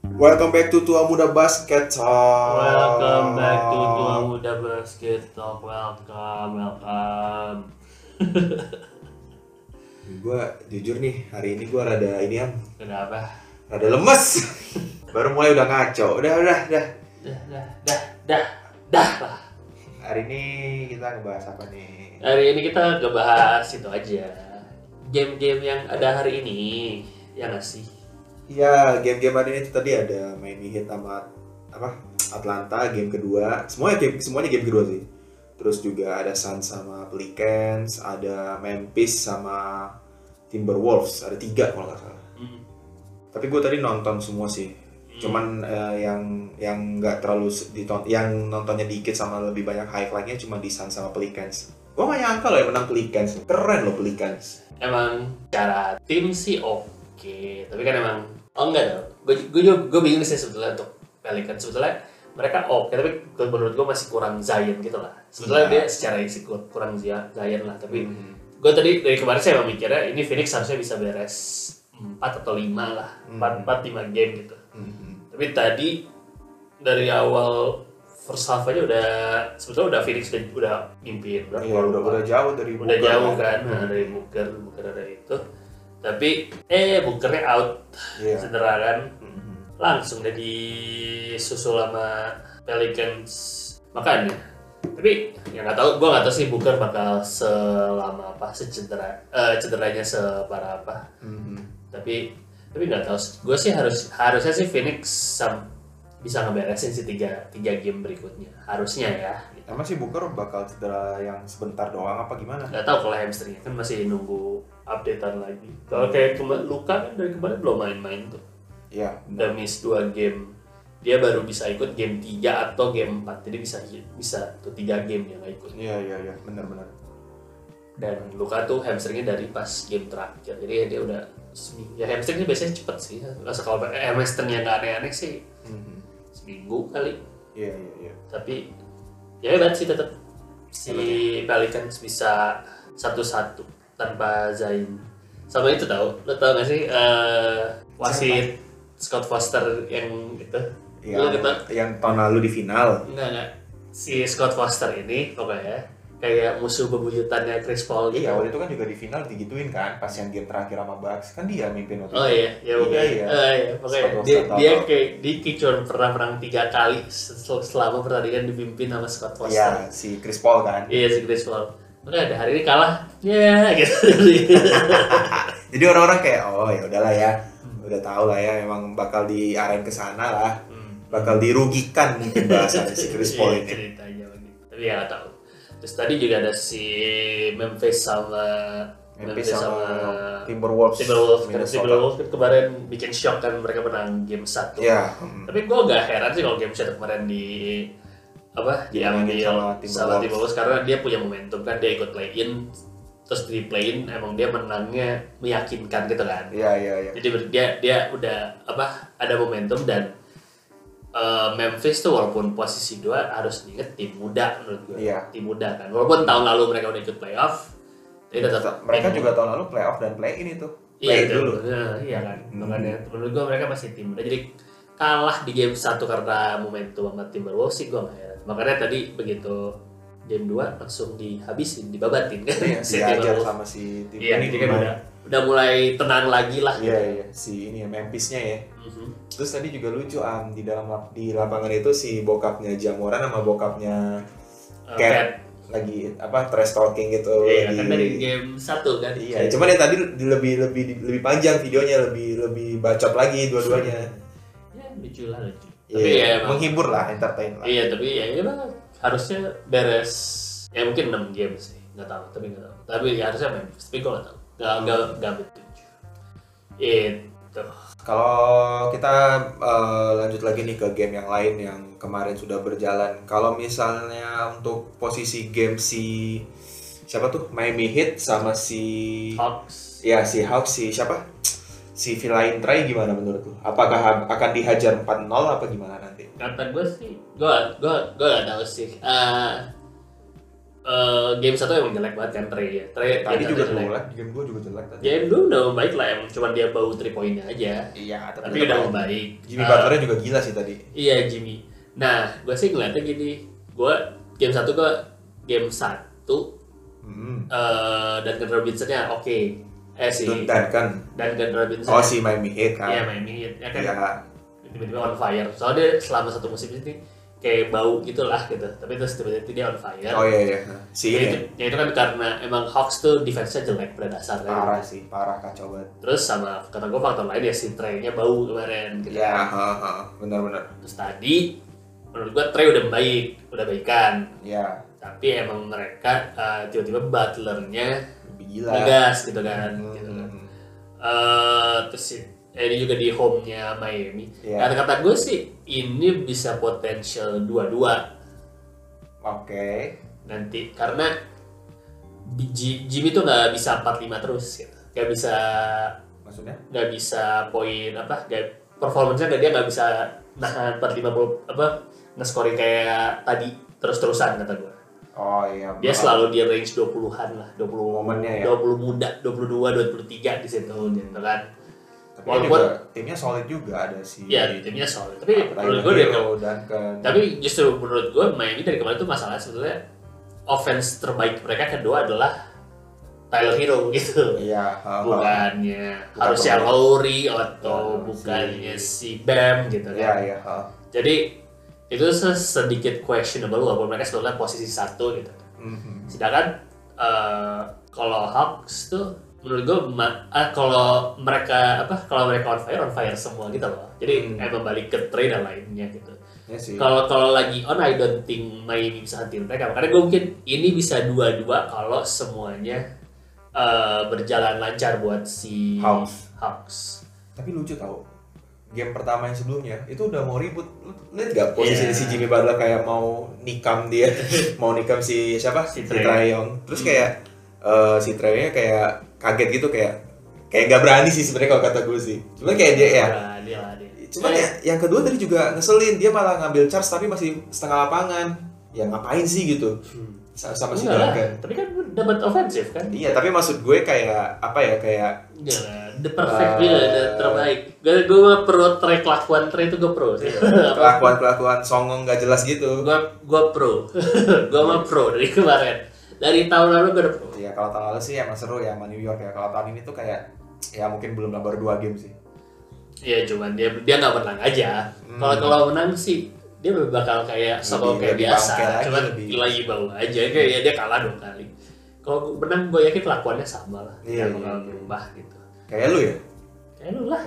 Welcome back to Tua Muda Basket Talk. Welcome back to Tua Muda Basket Talk. Welcome, welcome. Gue jujur nih, hari ini gue rada ini yang Kenapa? rada lemes. Baru mulai udah ngaco. Udah, udah, udah. Dah, dah, dah, dah, dah lah. Hari ini kita ngebahas apa nih? Hari ini kita ngebahas itu aja. Game-game yang ada hari ini, ya nggak sih? Iya, game-game hari ini tadi ada Miami Heat sama apa? Atlanta game kedua. Semuanya game semuanya game kedua sih. Terus juga ada Suns sama Pelicans, ada Memphis sama Timberwolves. Ada tiga kalau nggak salah. Hmm. tapi gue tadi nonton semua sih cuman eh, yang yang nggak terlalu se- diton yang nontonnya dikit sama lebih banyak highlightnya cuma di Suns sama Pelicans gue gak nyangka loh yang menang Pelicans keren loh Pelicans emang cara tim sih oke, tapi kan emang oh enggak dong. Gue juga gue bingung sih sebetulnya untuk Pelican sebetulnya mereka oke tapi menurut gue masih kurang Zion gitu lah. Sebetulnya Iya. dia secara isi kur- kurang Zia- Zion lah, tapi gue tadi dari kemarin saya emang mikirnya ini Phoenix harusnya bisa beres 4 atau 5 lah Hmm. 4, 4 5 game gitu Mhm. tapi tadi dari awal first half aja udah sebetulnya udah Phoenix udah, udah mimpin udah, Iya, udah udah jauh dari udah Booker, jauh kan nah, dari Booker Booker ada itu tapi eh Bookernya out Iya. cedera kan Mhm. langsung deh disusul sama Pelicans makanya tapi yang nggak tahu gue nggak tahu sih Booker bakal selama apa secedera eh, cederanya separah apa Mhm. tapi tapi nggak tahu gue sih harus harusnya sih Phoenix sam- bisa ngeberesin sih tiga tiga game berikutnya harusnya ya emang sih Booker bakal cedera yang sebentar doang apa gimana nggak tahu kalau hamstringnya kan masih nunggu updatean lagi kalau kayak kema- luka kan dari kemarin belum main-main tuh Iya. udah miss dua game dia baru bisa ikut game 3 atau game 4 jadi bisa bisa tuh tiga game yang nggak ikut iya iya iya benar-benar dan luka tuh hamstringnya dari pas game terakhir jadi dia udah seminggu ya hamstringnya biasanya cepet sih Rasa kalau eh, hamstringnya nggak aneh-aneh sih Mhm. seminggu kali iya iya iya tapi ya hebat sih tetap si Pelicans bisa satu-satu tanpa Zain sama itu tau lo tau gak sih eh, wasit Scott Foster yang itu yang, lo tau Iya. yang tahun lalu di final enggak enggak si Scott Foster ini pokoknya ya, kayak musuh bebuyutannya Chris Paul gitu Iya, waktu itu kan juga di final digituin kan, pas yang game terakhir sama Bucks kan dia mimpin waktu Oh iya, ya pokoknya, Iya, iya. Oh, iya. pokoknya Scott dia, Foster, dia tau. kayak di cuma pernah perang tiga kali sel- selama pertandingan dipimpin sama Scott Foster. Iya, si Chris Paul kan. Iya si Chris Paul. Udah ada hari ini kalah. Ya gitu. Jadi orang-orang kayak oh ya udahlah ya, udah tau lah ya emang bakal diarahin ke sana lah, bakal dirugikan mungkin bahasanya si Chris Paul Iya, ini. Ceritanya begitu. Tapi ya nggak tahu. Terus tadi juga ada si Memphis sama Memphis sama Timberwolves. Timberwolves. Karena Minnesota. Timberwolves kan kemarin bikin shock kan mereka menang game 1. Iya. Tapi gue gak heran sih kalau game satu kemarin di apa Dimenangin diambil sama sama Timberwolves. Timberwolves. karena dia punya momentum kan dia ikut play in terus di play in emang dia menangnya meyakinkan gitu kan. Iya iya iya. Jadi ber- dia dia udah apa ada momentum dan uh, Memphis tuh walaupun posisi dua harus diinget tim muda menurut gue. Iya. Tim muda kan. Walaupun tahun lalu mereka udah ikut playoff, tapi Ya tetap Mereka tim- juga tahun lalu playoff dan play in itu. Play Iya in itu. dulu. Nah, iya kan. Hmm. Makanya menurut gua mereka masih tim muda. Jadi kalah di game satu karena momentum sama Timberwolves sih gua nggak heran. Makanya tadi begitu game 2 langsung dihabisin, dibabatin kan. Iya, si diajar Timberwolves. sama si tim. Iya, ini kan udah udah mulai tenang lagi lah. Iya iya, si ini ya Memphisnya ya. Mhm. Terus tadi juga lucu am di dalam lap- di lapangan itu si bokapnya Jamoran sama bokapnya Eh, Cat. Cat. lagi apa trash talking gitu. Iya, di- kan dari game satu kan. Iya, cuman yang tadi di- lebih lebih lebih panjang videonya, lebih lebih bacot lagi dua-duanya. Ya, lucu lah lucu. Iya, Tapi ya emang- menghibur lah, entertain lah. Iya tapi ya ya lah, harusnya beres ya mungkin 6 game sih nggak tahu tapi nggak tahu tapi ya, harusnya main tapi gue nggak tahu nggak nggak nggak betujuh itu Kalau kita eh, lanjut lagi nih ke game yang lain yang kemarin sudah berjalan. Kalau misalnya untuk posisi game si siapa tuh Miami Heat sama si Hawks ya si Hawks si siapa si Villain Trey gimana menurut lu? Apakah ha- akan dihajar 4-0 apa gimana nanti? kata gue sih gue gue gue nggak tahu sih Eh, eh eh, game satu emang jelek banget kan Trey ya. Trey Tadi game juga satu jelek. jelek, game gue juga jelek tadi. Game dulu udah baik lah emang cuman dia bau 3 poinnya aja. Iya, Tapi udah membaik. Jimmy Eh, Butler juga gila sih tadi. Iya Jimmy. Nah, gue sih ngeliatnya gini, gue game satu ke game satu Hmm. eh dan Ken Robinsonnya oke. Eh si Tuntan kan. dan Ken Robinson. Oh si Miami Heat kan. Iya main ini ya kan Iya. tiba-tiba on fire. Soalnya dia selama satu musim ini kayak bau gitulah gitu. Tapi terus tiba-tiba dia on fire. Oh iya iya. Si ini Ya itu, ya itu kan karena emang Hawks tuh defense-nya jelek pada dasarnya. parah sih, parah kacau banget. Terus sama kata gue faktor lain ya si Trey-nya bau kemarin gitu. Iya, heeh, heeh. benar-benar. Terus tadi menurut gue Trey udah baik, udah baikan. Iya, Tapi emang mereka eh, tiba-tiba butlernya lebih gila. ngegas gitu kan. Hmm, Gitu kan. hmm. Eh, terus si- eh, ini juga di home-nya Miami. Iya. Kata-kata gue sih ini bisa potensial dua-dua Oke. nanti karena Ji- Jimmy tuh nggak bisa 45 terus gitu. Nggak bisa Maksudnya? nggak bisa poin apa nggak performanya nggak dia nggak bisa nahan 450 apa nge-scoring kayak tadi terus-terusan kata gue Oh iya. dia maaf. selalu di range 20-an lah 20 Momennya ya? 20 muda 22 23 di situ gitu kan Tapi walaupun- juga timnya solid juga ada si ya timnya solid tapi Tyler menurut gue dari Iya. Hero, Duncan. tapi justru menurut gue Miami dari kemarin tuh masalah sebetulnya offense terbaik mereka kedua adalah Tyler Hero gitu Iya, heeh. bukannya Bukan harusnya pemain. Lowry Ya, atau bukannya si Bam gitu Iya, kan iya, heeh. jadi itu sedikit questionable walaupun mereka sebetulnya posisi satu gitu Mhm. sedangkan eh, kalau Hawks tuh menurut gue ma- ah, kalau mereka apa kalau mereka on fire on fire semua gitu loh jadi Hmm. emang balik ke trade dan lainnya gitu Iya sih. kalau kalau lagi on I don't think Miami bisa hantiin mereka makanya gue mungkin ini bisa dua-dua kalau semuanya eh, berjalan lancar buat si Hawks. Hawks. Tapi lucu tau game pertama yang sebelumnya itu udah mau ribut Lu lihat gak posisi Iya. si Jimmy Butler kayak mau nikam dia mau nikam si siapa Si si Trae. Hmm. Trae Young terus kayak eh, si Trae nya kayak kaget gitu kayak kayak gak berani sih sebenarnya kalau kata gue sih cuman kayak dia ya Nah, dia lah dia. cuman Eh, ya yang kedua tadi juga ngeselin dia malah ngambil charge tapi masih setengah lapangan ya ngapain sih gitu hmm. Sa- sama si Enggak lah, Duncan tapi kan dapat ofensif kan? iya tapi maksud gue kayak apa ya kayak Enggak lah, the perfect Eh. dia the terbaik. Gue gue pro track kelakuan Trey itu gue pro. Iya. Apa? kelakuan kelakuan songong gak jelas gitu gue gue pro. gue mah pro dari kemarin. Dari tahun lalu gue udah pro. ya kalau tahun lalu sih emang seru ya sama New York ya kalau tahun ini tuh kayak ya mungkin belum lah baru dua game sih Iya cuman dia dia nggak menang aja. Kalau kalau menang sih dia bakal kayak sokong Hmm. kayak lebih biasa, bangke lagi, cuman lebih- lagi bau aja kayak ya dia kalah dua kali. Kalau menang gue yakin kelakuannya sama lah, Iya, nggak bakal iya. berubah gitu. kayak lu ya Kayak lu lah,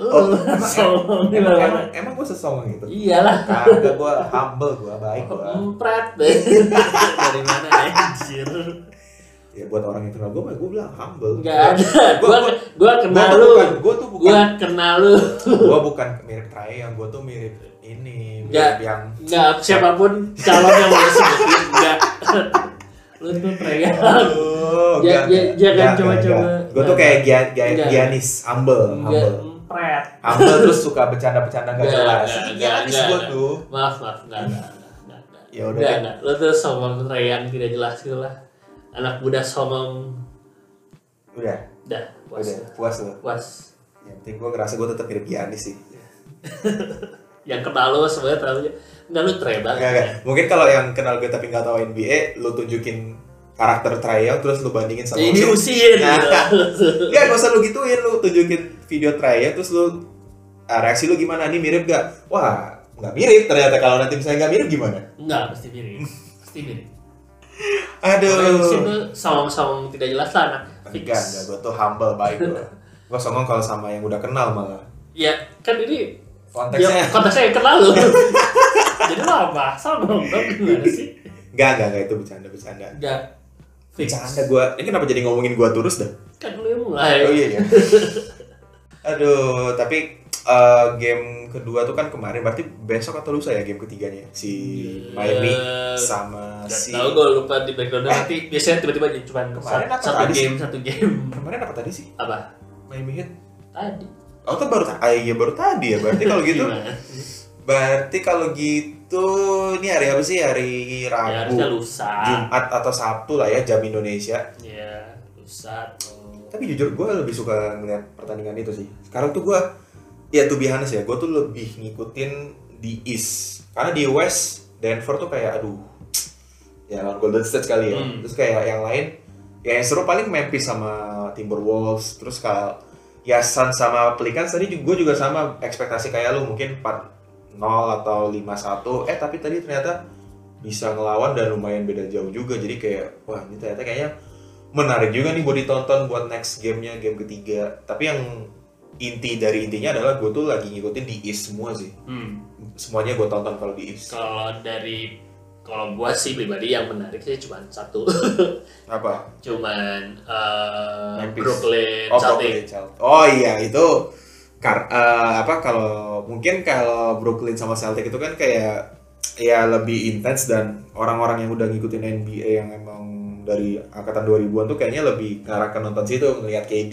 Oh, Iya. lu emang- sokong di emang, mana? emang, emang gue sesongong gitu Iyalah, kagak gue humble gue baik gue Iya Oh. empret dari mana anjir? ya buat orang yang kenal gue mah gue bilang humble Nggak ada, Gua- gua- gue gue gue kenal tuh lu, bukan gue tuh bukan gue kenal lu. gue bukan mirip Trae yang gue tuh mirip ini mirip Nggak. yang Nggak siapapun calon yang mau sebutin nggak. Lu tuh pregal. Aduh, nggak, Ja- ja- nggak, jangan nggak, coba-coba. nggak. Gue tuh kayak Gian- Gian- Nggak. Giannis, humble, Enggak humble. empret. Humble terus suka bercanda-bercanda gak Nggak, jelas. nggak, Itu nggak, Giannis nggak, gue nggak. tuh. Maaf, maaf, enggak, enggak, enggak, enggak. Ya udah, Enggak, enggak. Lo tuh somong yang tidak jelas gitu lah. Anak muda somong. udah, Dah, puas. ya. udah, puas lu. Puas. Yang penting gue ngerasa gue tetap mirip Giannis sih. Yang kenal lo sebenarnya terlalu enggak lu tre banget. Enggak, enggak. Mungkin kalau yang kenal gue tapi nggak tahu NBA, lu tunjukin karakter Trae Young terus lu bandingin sama Ya, Ini Usyk. usin Nah. gitu. Enggak, nggak usah lu gituin, lu tunjukin video Trae Young terus lu ah, reaksi lu gimana nih mirip gak? Wah, nggak mirip ternyata kalau nanti misalnya nggak mirip gimana? Enggak, pasti mirip. Pasti mirip. Orang usin Aduh. tuh somong-somong tidak jelas lah anak. Fix. Enggak, enggak, gue tuh humble baik gue. gue songong kalau sama yang udah kenal malah. Ya, kan ini ya, Konteksnya konteksnya yang kenal lo. Jadi lo apa? Somong dong gimana sih? enggak, enggak, enggak itu bercanda, bercanda. Enggak. Fix. Bercanda gue. Ini kenapa jadi ngomongin gue terus dah? Kan lu yang mulai. Oh iya iya. Aduh, tapi eh, game kedua tuh kan kemarin berarti besok atau lusa ya game ketiganya si Miami Eh, sama Gak si tau gue lupa di background nanti biasanya tiba-tiba jadi cuma Eh. Kemarin sat- apa satu tadi sih? game satu game kemarin apa tadi sih apa Miami Heat? tadi Oh tuh baru ta- ah, iya, baru tadi ya berarti kalau gitu Gimana? berarti kalau gitu itu ini hari apa sih? Hari ya harusnya Rabu, lusa Jumat atau Sabtu lah ya jam Indonesia. ya lusa atau Tapi jujur gue lebih suka ngeliat pertandingan itu sih. Sekarang tuh gue, ya tuh bihanes ya, gue tuh lebih ngikutin di East. Karena di West Denver tuh kayak aduh, ya lawan Golden State kali ya. Hmm. Terus kayak yang lain, ya yang seru paling Memphis sama Timberwolves. Terus kalau ya Suns sama Pelicans tadi juga, gue juga sama ekspektasi kayak lu mungkin 4-0 atau 5-1. Eh tapi tadi ternyata bisa ngelawan dan lumayan beda jauh juga. Jadi kayak wah ini ternyata kayaknya menarik juga nih buat ditonton buat next gamenya game ketiga. Tapi yang inti dari intinya adalah gue tuh lagi ngikutin di East semua sih. hmm. Semuanya gue tonton kalau di East. Kalau dari kalau gua sih pribadi yang menarik sih cuma satu, Apa? cuman eh, Memphis. Brooklyn Oh, Celtics. Brooklyn Celtics. Oh iya itu kar eh, apa kalau mungkin kalau Brooklyn sama Celtic itu kan kayak ya lebih intens dan orang-orang yang udah ngikutin NBA yang emang dari angkatan 2000-an tuh kayaknya lebih ngarah ke nonton situ ngelihat KD,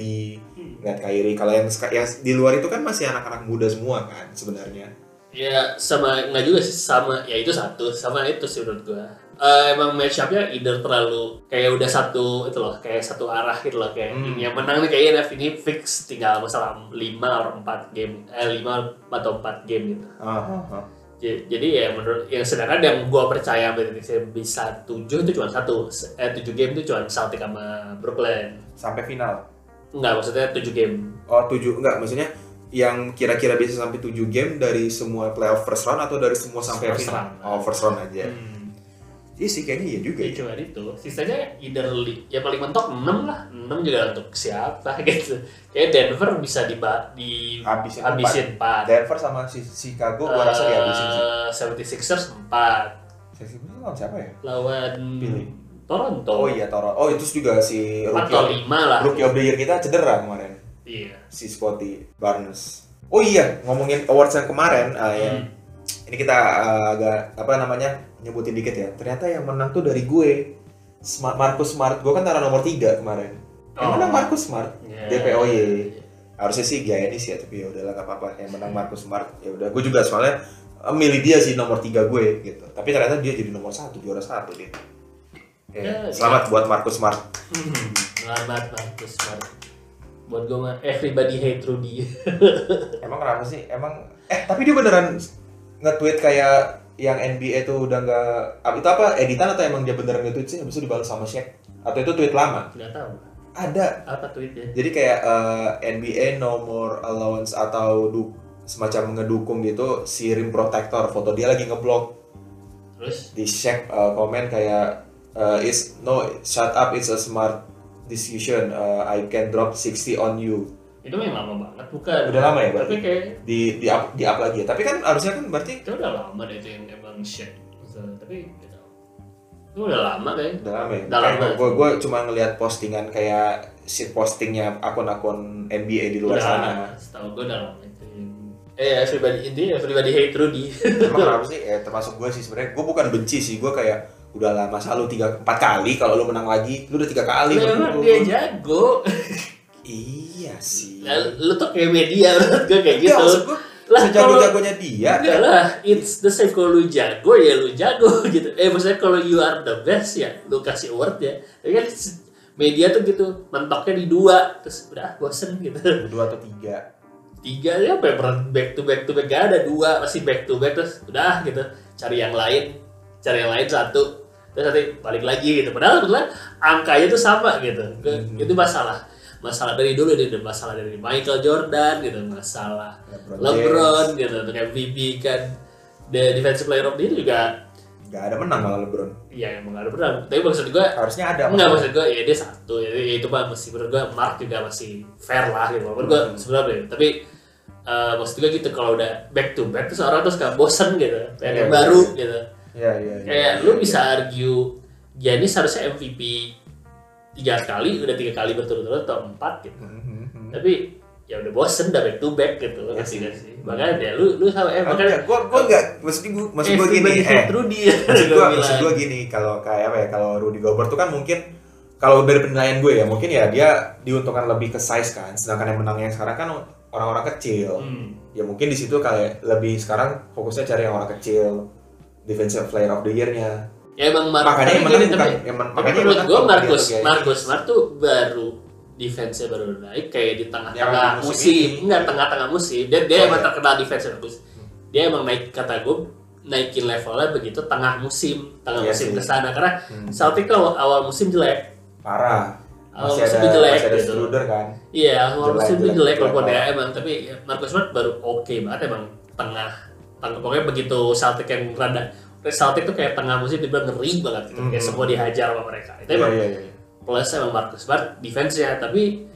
ngelihat Kyrie. Kalau yang seka- yang di luar itu kan masih anak-anak muda semua kan sebenarnya. Ya sama nggak juga sih sama ya itu satu sama itu sih menurut gua. Eh, emang match up-nya either terlalu kayak udah satu itu loh kayak satu arah gitu loh kayak Hmm. ini yang menang nih kayaknya NF ini fix tinggal masalah 5 atau 4 game eh 5 atau 4 game gitu. Ah, ah, ah. J- Jadi ya menurut yang sedangkan yang gua percaya Indonesia bisa 7 itu cuma satu Se- eh 7 game itu cuma Celtic sama Brooklyn. Sampai final. Enggak, maksudnya 7 game. Oh, 7 enggak maksudnya yang kira-kira bisa sampai 7 game dari semua playoff first round atau dari semua sampai First final? round. Oh, first round aja. Hmm. Iya sih kayaknya iya juga Ya ya. cuma itu. Sisanya either li- ya paling mentok 6 lah. 6 juga untuk siapa gitu. Kayak Denver bisa di di Habisin habisin Eh. 4. Denver sama si Chicago gua rasa dihabisin sih. 76ers 4 Sexy Blue lawan siapa ya? lawan Pilih. Toronto. Oh iya Toro. Oh itu juga si 4 atau rookie, 5 lah. rookie of the year kita cedera kemarin. Iya. Si Scotty Barnes. Oh iya, ngomongin awards yang kemarin ah, ya. Hmm. Ini kita ah, agak apa namanya? nyebutin dikit ya. Ternyata yang menang tuh dari gue. Smart, Marcus Smart, gue kan taruh nomor 3 kemarin. Yang Oh. menang Marcus Smart, Iya. DPOY. harusnya sih Giannis ya tapi ya udahlah nggak apa-apa yang menang Marcus Smart ya udah gue juga soalnya eh, milih dia sih nomor tiga gue gitu tapi ternyata dia jadi nomor satu juara satu dia ya, Ya, selamat buat Marcus Smart Hmm, Selamat Marcus Smart. Buat gue mah eh, everybody hate Rudy. emang kenapa sih emang eh tapi dia beneran nge-tweet kayak yang NBA tuh udah nggak ah, itu apa editan atau emang dia beneran nge-tweet sih habis itu dibalas sama Shaq atau itu tweet lama Gak tahu ada apa tweetnya. jadi kayak eh, NBA no more allowance atau du- semacam ngedukung gitu si rim protector foto dia lagi ngeblok Terus di Shaq uh, komen kayak uh, is no shut up it's a smart decision uh, I can drop 60 on you itu memang lama banget bukan? Udah lama ya, berarti? Tapi kayak di di up, di up lagi ya tapi kan harusnya kan berarti itu udah lama deh itu yang emang shit. Maksudnya, Tapi gak tahu. Itu udah lama kayaknya. udah lama ya Udah lama. gue gue cuma ngelihat postingan kayak shit postingnya akun-akun NBA di luar udah, sana Setahu gue udah lama itu. yang- Eh everybody ini everybody hate Rudy. emang kenapa sih ya termasuk gue sih sebenarnya gue bukan benci sih gue kayak udah lama masa lu tiga empat kali kalau lu menang lagi lu udah tiga kali Memang menurut dia lu. jago. iya sih Lah, Ya, Lu tuh kayak media menurut gue kayak Iya, gitu. maksud Iya. gue Lah, sejago-jagonya dia Enggak lah, it's the same kalau lu jago ya lu jago gitu. Eh maksudnya kalau you are the best ya lu kasih award ya. Tapi kan s- media tuh gitu, mentoknya di dua terus udah ah, bosen gitu. dua atau tiga Tiga ya apa ya, ber- back to back to back gak ada dua masih back to back terus udah ah, gitu. Cari yang lain, cari yang lain satu terus nanti balik lagi gitu. Padahal sebetulnya angkanya tuh sama gitu. Ke- Mhm. Itu masalah masalah dari dulu dari masalah dari Michael Jordan gitu masalah LeBron gitu kayak VB kan the defensive player of the year juga Gak ada menang malah LeBron. ya emang gak ada benar tapi maksud gue Harusnya ada. enggak malah. maksud gue ya dia satu ya ya itu mah masih menurut gue Mark juga masih fair lah gitu walaupun gue Hmm. sebenarnya tapi eh, maksud gue gitu kalau udah back to back terus orang terus gak bosen gitu pengen yang Iya, baru iya. gitu Iya, iya. iya. kayak Iya, lu iya. bisa argue Giannis harusnya MVP tiga kali udah tiga kali berturut-turut atau empat gitu Mhm, mhm. tapi ya udah bosen udah back to back Iya gitu ngerti sih. gak sih makanya ya lu lu sama eh Ah, makanya enggak, gua gua enggak maksud gua maksud gua gini eh Rudy maksud gua maksud gua gitu. gini kalau kayak apa ya kalau Rudy Gobert tuh kan mungkin kalau dari penilaian gue ya mungkin ya dia diuntungkan lebih ke size kan sedangkan yang menangnya sekarang kan Hmm. orang-orang kecil ya mungkin di situ kayak lebih sekarang fokusnya cari yang orang kecil defensive player of the year-nya. Ya emang Marcus. Makanya tapi emang gini, ini bukan tapi- emang tapi makanya menurut emang gue kan Marcus, dia- dia- Marcus Smart tuh baru defense-nya baru naik kayak di Ya, tengah-tengah musim musim, ini. enggak tengah-tengah musim. Dia dia Oh, emang iya. terkenal defense bagus. Dia emang naik kata gue naikin levelnya begitu tengah musim, tengah Iya musim sih. ke sana karena Hmm, Celtic kalau awal musim jelek. parah. Awal Masih musim ada Oh, jelek masih ada gitu. Struder kan. Iya, awal Jelek, musim jelek, jelek walaupun jelek. ya emang tapi ya, Marcus Smart baru oke banget emang tengah. Tengah pokoknya begitu Celtic yang rada Celtic tuh kayak tengah musim tiba ngeri banget gitu. Mhm. Kayak semua dihajar sama mereka. Itu Iya emang iya iya. plus emang Marcus Smart defense ya tapi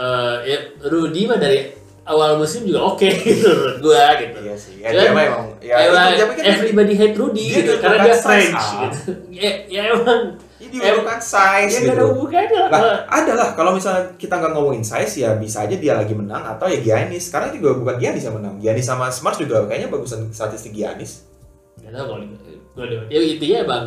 eh ya Rudy mah dari awal musim juga oke gitu menurut gua gitu Iya sih. Ya Cuman, dia mah emang ya itu emang tapi kan everybody hate Rudy dia gitu juga karena bukan dia size French up. gitu ya, ya emang dia diurutan size ya gak ada gitu. hubungannya Lah, ada lah kalau misalnya kita nggak ngomongin size ya bisa aja dia lagi menang atau ya Giannis. Karena juga bukan Giannis yang menang. Giannis sama Smart juga kayaknya bagusan statistik Giannis. gak tau kalau gua debat ya intinya emang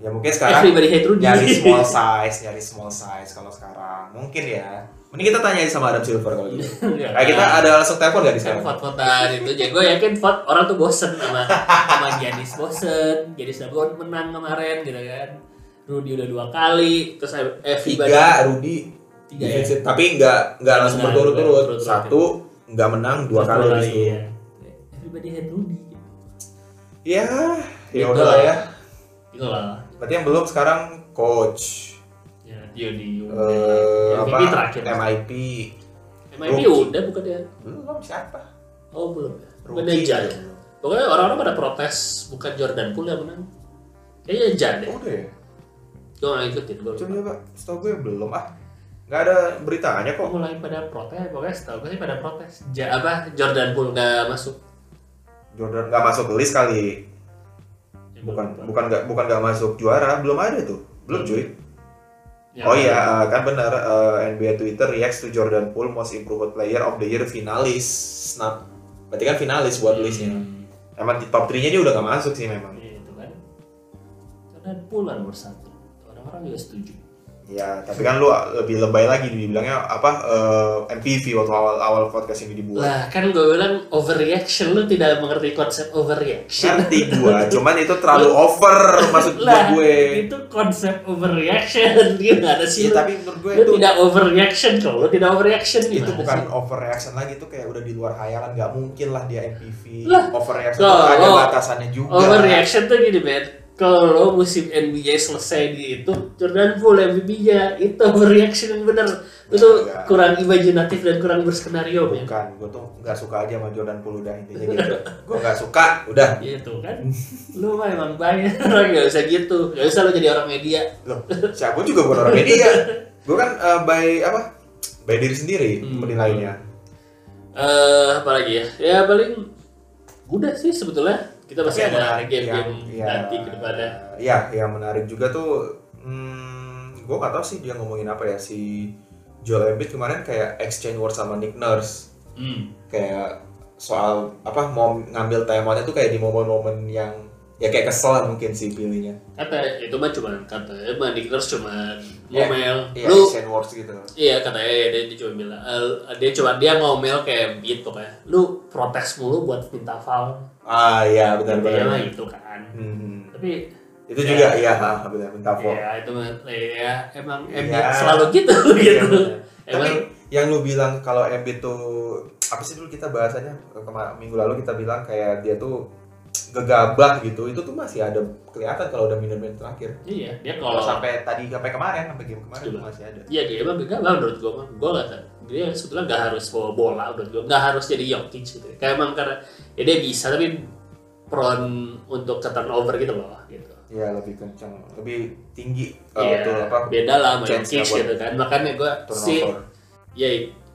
Ya mungkin sekarang everybody hate Rudy nyari small size, nyari small size kalau sekarang. Mungkin ya. Mending kita tanya aja sama Adam Silver kalau gitu. Nggak. Nah, kita ada langsung telepon gak di kan sekarang? vote-votan itu jadi gue yakin vote orang tuh bosen sama sama Giannis bosen Giannis udah menang kemarin gitu kan Rudy udah dua kali terus everybody Tiga, Rudy. tiga ya defensive. Tapi nggak nggak Nggak langsung menang, berturut-turut. berturut-turut. Satu nggak menang dua Terus kali di situ. ya. everybody had Rudy Ya, ya Gitu. udah lah ya. gitu lah Berarti yang belum sekarang coach, ya dia di eh MVP apa, terakhir MIP, MIP Rookie. udah bukan ya belum siapa? oh belum ya bukan Rookie Jan juga belum. pokoknya orang-orang pada protes bukan Jordan Poole yang menang kayaknya Jan deh Oh, Udah ya? gue gak ngikutin gue Coba lupa ya, Pak. Setahu gue belum ah. Nggak ada beritanya kok. mulai pada protes pokoknya setahu gue sih pada protes ja, apa Jordan Poole nggak masuk Jordan nggak masuk ke list kali. Ya, Bukan belum. Hmm. bukan nggak bukan nggak masuk juara, belum ada tuh. Belum cuy. Ya, Oh iya, eh, kan benar eh, NBA Twitter reacts to Jordan Poole most improved player of the year finalis. Snap. Berarti kan finalis buat Hmm. listnya. Emang di top 3-nya dia udah gak masuk sih memang. Iya, itu kan Jordan Poole lah nomor satu orang-orang juga setuju Ya, tapi kan lu lebih lebay lagi dibilangnya apa eh, MPV waktu awal awal podcast ini dibuat. lah kan gue bilang overreaction lu tidak mengerti konsep overreaction Ngerti gua, cuman itu terlalu over maksud gua lah gitu. gue. itu konsep overreaction gimana Iya, sih lu? tapi menurut gue lu itu tidak Nah, overreaction kalau lu tidak overreaction gimana itu bukan sih? overreaction lagi itu kayak udah di luar khayalan nggak mungkin lah dia MPV Lah. overreaction Loh, tuh ada loh. batasannya juga Overreaction tuh gini, Ben. Kalau musim NBA selesai di itu, Jordan Poole MVP-nya itu overreaction yang bener. Itu Enggak. kurang imajinatif dan kurang berskenario, Ben. bukan gue tuh nggak suka aja sama Jordan Poole udah intinya gitu gue nggak suka udah Gitu kan. Lu mah emang banyak orang gak usah gitu. Gak usah lu jadi orang media. loh siapa gua juga bukan orang media gue kan eh, by apa by diri sendiri Hmm. penilainya Eh, apalagi ya? Ya paling udah sih sebetulnya. Kita masih Tapi ada yang- game-game ya, nanti ke depannya. ya yang menarik juga tuh hmm, gue nggak tahu sih dia ngomongin apa ya si Joel Embiid kemarin kayak exchange word sama Nick Nurse Hmm. kayak soal apa mau ngambil temanya tuh kayak di momen-momen yang ya kayak kesel lah mungkin sih pilihnya Kata itu mah cuma kata, emang Nick Nurse cuma Ya, ngomel. ya Lu Shane Wars gitu Iya katanya ya, dia, dia cuma bilang eh, dia cuma dia ngomel kayak gitu pokoknya. Lu protes mulu buat minta foul. ah iya benar Dia mah benar gitu kan. Hmm, Tapi itu Ya. juga iya ah, benar minta vote. ya itu mah ya emang Iya. Embiid selalu gitu Iya, gitu. benar. tapi Emang yang lu bilang kalau MB tuh apa sih dulu kita bahasannya kemarin minggu lalu kita bilang kayak dia tuh gegabah gitu itu tuh masih ada kelihatan kalau udah minum-minum terakhir iya dia kalau kalau sampai tadi sampai kemarin sampai game kemarin Coba. tuh masih ada Iya dia emang gak lah menurut gua mah gua nggak tahu. dia sebetulnya nggak harus bawa bola menurut gua nggak harus jadi Jokic gitu kayak emang karena ya dia bisa tapi prone untuk ke turnover gitu loh gitu ya lebih kencang lebih tinggi Iya, eh, tuh apa beda lah sama chance-nya Jokic buat gitu kan makanya gua sih turnover ya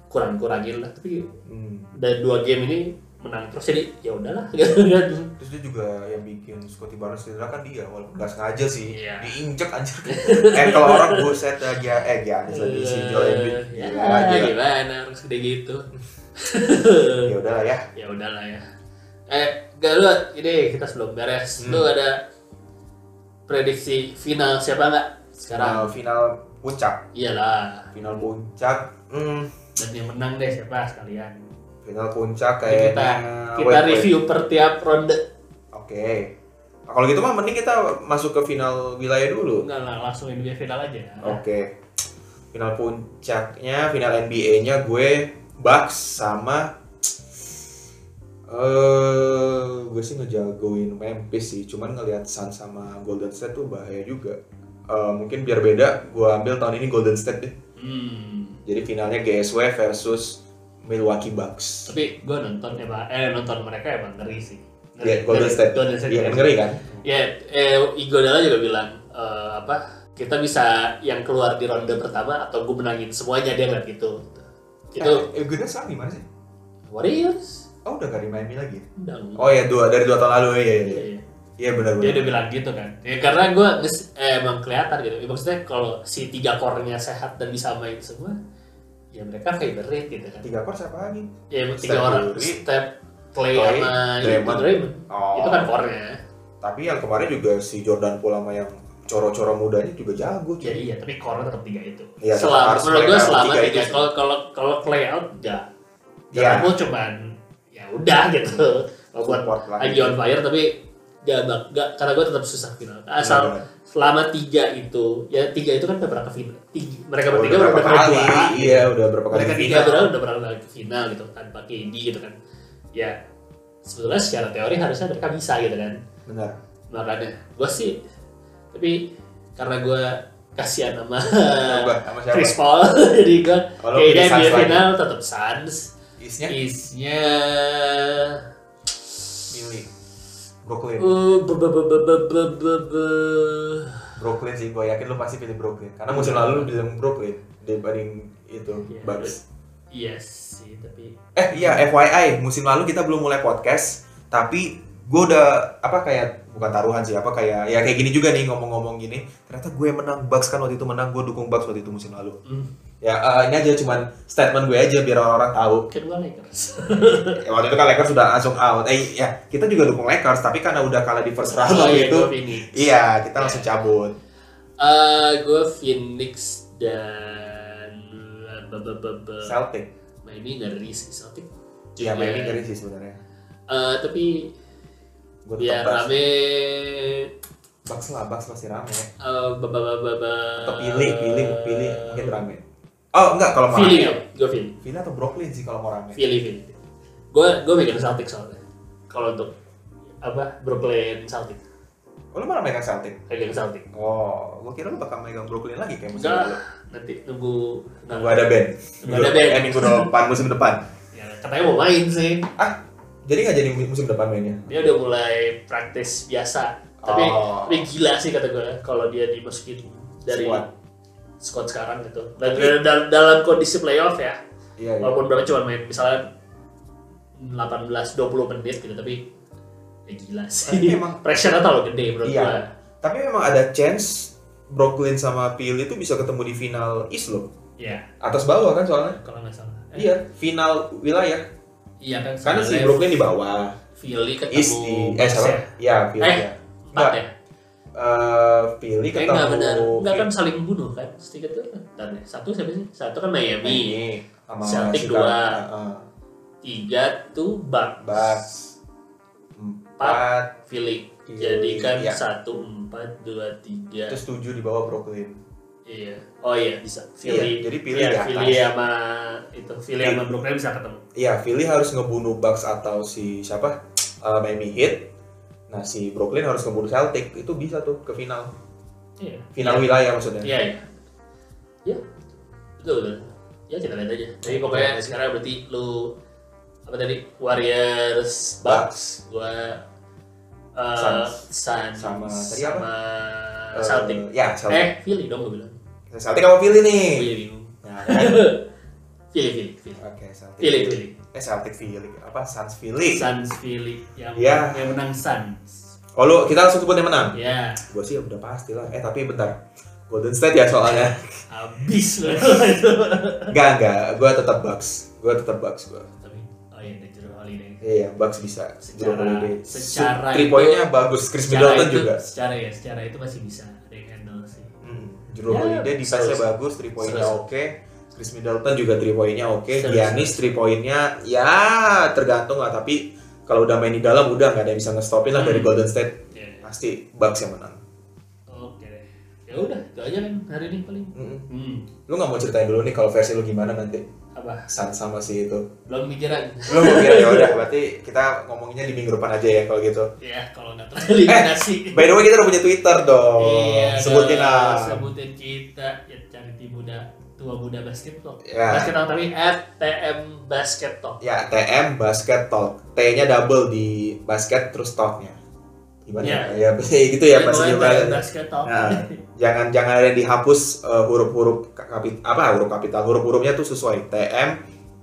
kurang-kurangin lah tapi Hmm. dari dua game ini menang terus jadi ya udahlah gitu kan Terus dia juga yang bikin Scotty Barnes cedera kan dia walaupun nggak sengaja sih Iya. diinjek anjir. eh kalau orang buset lagi eh Giannis lagi si Joel Embiid. Iya, ya, Gila aja. gimana harus gede gitu Ya udahlah ya. ya udahlah ya eh gak lu ini kita sebelum beres Hmm. lu ada prediksi final siapa nggak sekarang Final, final puncak, iyalah final puncak. Hmm, dan yang menang deh siapa sekalian final puncak Jadi kayaknya. kita kita Wait, wait. review per tiap ronde Oke. Nah, Kalau gitu mah mending kita masuk ke final wilayah dulu. Enggak lah, langsung NBA final aja. Oke. Final puncaknya, final NBA-nya gue Bucks sama eh gue sih ngejagoin Memphis sih, cuman ngelihat Sun sama Golden State tuh bahaya juga. Eh, mungkin biar beda, gue ambil tahun ini Golden State deh. Hmm. Jadi finalnya GSW versus Milwaukee Bucks. Tapi gue nonton emang, eh nonton mereka emang ngeri sih. Ngeri. Iya, Golden State. Golden State. Iya, ngeri kan? Ya, eh, Igodala juga bilang eh, apa? Kita bisa yang keluar di ronde pertama atau gue menangin semuanya dia ngeliat gitu. Itu Eh, Golden State gimana sih? Warriors. Oh, udah gak di Miami lagi. ya? Dang. Oh ya, dua dari dua tahun lalu ya. Iya, iya. Iya. Iya benar dia benar. udah bilang gitu kan ya karena gue emang kelihatan gitu ya, maksudnya kalau si tiga core-nya sehat dan bisa main semua ya mereka favorite gitu kan Tiga kor siapa lagi? ya emang Steph tiga orang Curry, step Clay Clay, sama Draymond. Draymond. Draymond Oh. itu kan core-nya Tapi yang kemarin juga si Jordan Poole sama yang coro-coro mudanya juga jago ya cuy. iya tapi core-nya tetap tiga itu Iya, tetap selama harus menurut mereka gue harus selama tiga itu tiga sih. kalau kalau kalau Clay out ya Iya. ya gue cuman ya udah gitu Kalau buat Support lah. lagi on fire tapi gak, bak- gak karena gue tetap susah final asal Benar. selama tiga itu ya tiga itu kan udah pernah ke final tiga, mereka Udah bertiga udah berapa pernah kali? juara Iya, udah berapa kali? mereka di tiga final. berapa udah pernah ke final gitu tanpa KD gitu kan ya sebetulnya secara teori harusnya mereka bisa gitu kan Benar. makanya gue sih tapi karena gue kasihan sama Coba sama siapa? Eh, Chris Paul jadi gue Kalau kayaknya pilih Suns NBA lagi. final tetap Suns Isnya isnya milih Brooklyn. Uh, be- be- be- be- be- be- be- be- Brooklyn sih, gue yakin lu pasti pilih Brooklyn. Karena musim lalu lu bilang Brooklyn dibanding itu Iya. Bucks. yes Iya sih tapi Eh iya, FYI, musim lalu kita belum mulai podcast, tapi gue udah apa kayak bukan taruhan sih, apa kayak ya kayak gini juga nih ngomong-ngomong gini. Ternyata gue menang Bucks kan waktu itu menang, gue dukung Bucks waktu itu musim lalu. hmm, Ya eh, ini aja cuman statement gue aja biar orang-orang tahu. kedua Lakers Ya, waktu itu kan Lakers sudah langsung out. Eh ya kita juga dukung Lakers, tapi karena udah kalah di first round Oh, iya, waktu itu, gua Phoenix. gitu. iya kita langsung cabut. Eh, gue Phoenix dan be- be- be- be- Celtic, Miami ngeri sih Celtic. ya juga. Miami ngeri sih sebenarnya. Eh, tapi Gue biar tetap Bucks. Iya, rame Bucks lah, Bucks masih rame. eh baba baba Atau pilih, pilih, pilih, mungkin rame. Eh. Oh enggak kalau mau Philly, rame. gue Philly, Villa atau Brooklyn sih kalau mau rame. Philly, Philly. Gue gue megang Celtic soalnya. Kalau untuk apa Brooklyn Celtic, Oh, lu malah megang Celtic. megang Celtic. Oh, gua kira lu bakal megang Brooklyn lagi kayak musim lalu. Enggak, nanti nunggu Gua Iya. ada band. Nggak ada band. Eh, minggu depan, musim depan. Ya, katanya mau main sih. Ah, jadi nggak jadi musim depan mainnya? dia udah mulai praktis biasa tapi Oh. tapi gila sih kata gue kalau dia dimasukin dari Squad. squad, sekarang gitu dan dan- dan- dalam kondisi playoff ya Iya, iya. walaupun berapa cuma main misalnya 18-20 menit gitu tapi ya gila Tapi sih memang- pressure-nya terlalu gede menurut Iya. gue Tapi memang ada chance Brooklyn sama Philly itu bisa ketemu di final East loh. ya Atas bawah kan soalnya. kalau nggak salah Eh, Iya, final wilayah. iya kan Karena si sebenarnya Brooklyn di bawah. Philly ketemu East di eh Bucks ya. siapa? Iya, Philly. Eh, ya. empat ya Eh, Philly Eh, nggak benar ketemu nggak kan saling bunuh kan sedikit tuh Bentar deh. satu siapa sih satu kan Miami Ini sama Celtic Chicago. Ah, dua. Heeh. tiga tuh Bucks, Bucks empat Philly Philly, jadi kan iya. satu empat dua tiga terus tujuh di bawah Brooklyn iya oh iya bisa Iya, Philly jadi Philly Iya, di atas. Philly sama itu Philly sama Brooklyn bisa ketemu Iya, Philly harus ngebunuh Bucks atau si siapa Eh, Miami Heat nah si Brooklyn harus ngebunuh Celtic itu bisa tuh ke final iya final wilayah maksudnya iya iya iya betul betul ya kita lihat aja jadi pokoknya sekarang berarti lu apa tadi Warriors Bucks gua eh Suns. Suns Sama tadi apa? sama Eh, Celtic ya Celtic Eh, eh Philly dong gua bilang Celtic apa Philly nih Gua jadi bingung nah, kan? Philly Philly Philly oke Celtic Philly Philly eh Celtic Philly apa Suns Philly Suns Philly yang Ya. yang menang Suns. oh lu kita langsung sebut yang menang Ya, gue sih udah pasti lah eh tapi bentar Golden State ya soalnya habis loh itu. Enggak, enggak. Gue tetap Bucks. Gue tetap Bucks gue. Tapi oh iya ada Jerome Holiday. Iya, Bucks bisa. Secara- Jerome Holiday. secara three itu- point-nya bagus. Chris Middleton itu, juga. Secara ya, secara itu masih bisa ada yang handle sih. Hmm. Jerome Ya, Holiday defense-nya seru sih. bagus, three point-nya Seru sih. oke. Chris Middleton juga three point-nya oke. Seru sih. Giannis three point-nya ya tergantung lah, tapi kalau udah main di dalam udah nggak ada yang bisa ngestopin lah dari Hmm. Golden State. Ya. pasti Bucks yang menang. Oke deh. Ya udah, itu aja kan hari ini paling. Mm-mm. Hmm. Lu nggak mau ceritain dulu nih kalau versi lu gimana nanti Apa? Suns sama si itu? Belum pikiran. Lu mau kira ya udah, berarti kita ngomonginnya di minggu depan aja ya kalau gitu. ya, kalau nggak tereliminasi. By the way kita udah punya Twitter dong. Iya, Sebutin dong, lah. Sebutin kita ya cari di muda tua muda basket talk. Ya. Basket talk tapi at TM basket talk. Ya, TM Basket Talk. T-nya double di basket terus talknya. Gimana? Ya, Iya. ya gitu ya pasti Pokoknya gimana. TM basket talk. Nah, jangan jangan ada yang dihapus eh, huruf-huruf ka- kapit apa huruf kapital huruf-hurufnya tuh sesuai TM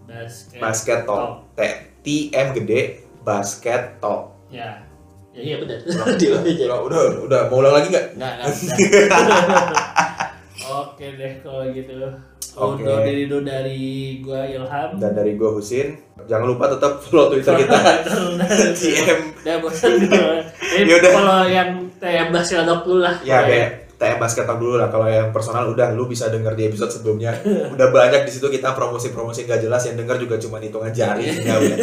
basket. basket Ya. talk T TM gede basket talk Ya. Ya iya benar. Ulang. Dia aja. udah udah udah mau ulang lagi nggak Nggak, nggak bisa. Oke deh kalau gitu. Oke. Undur diri dulu dari gua Ilham. dan dari gua Husin jangan lupa tetap follow twitter kita TM Udah bosan gitu. Jadi Yaudah. kalau yang TM basket talk dulu lah. ya Kayak- kayak TM basket talk dulu lah kalau yang personal udah lu bisa denger di episode sebelumnya udah banyak di situ kita promosi-promosi nggak jelas yang denger juga cuma hitungan jari Ya udah.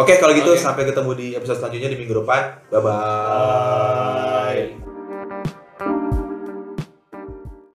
oke kalau gitu Oke. sampai ketemu di episode selanjutnya di minggu depan bye bye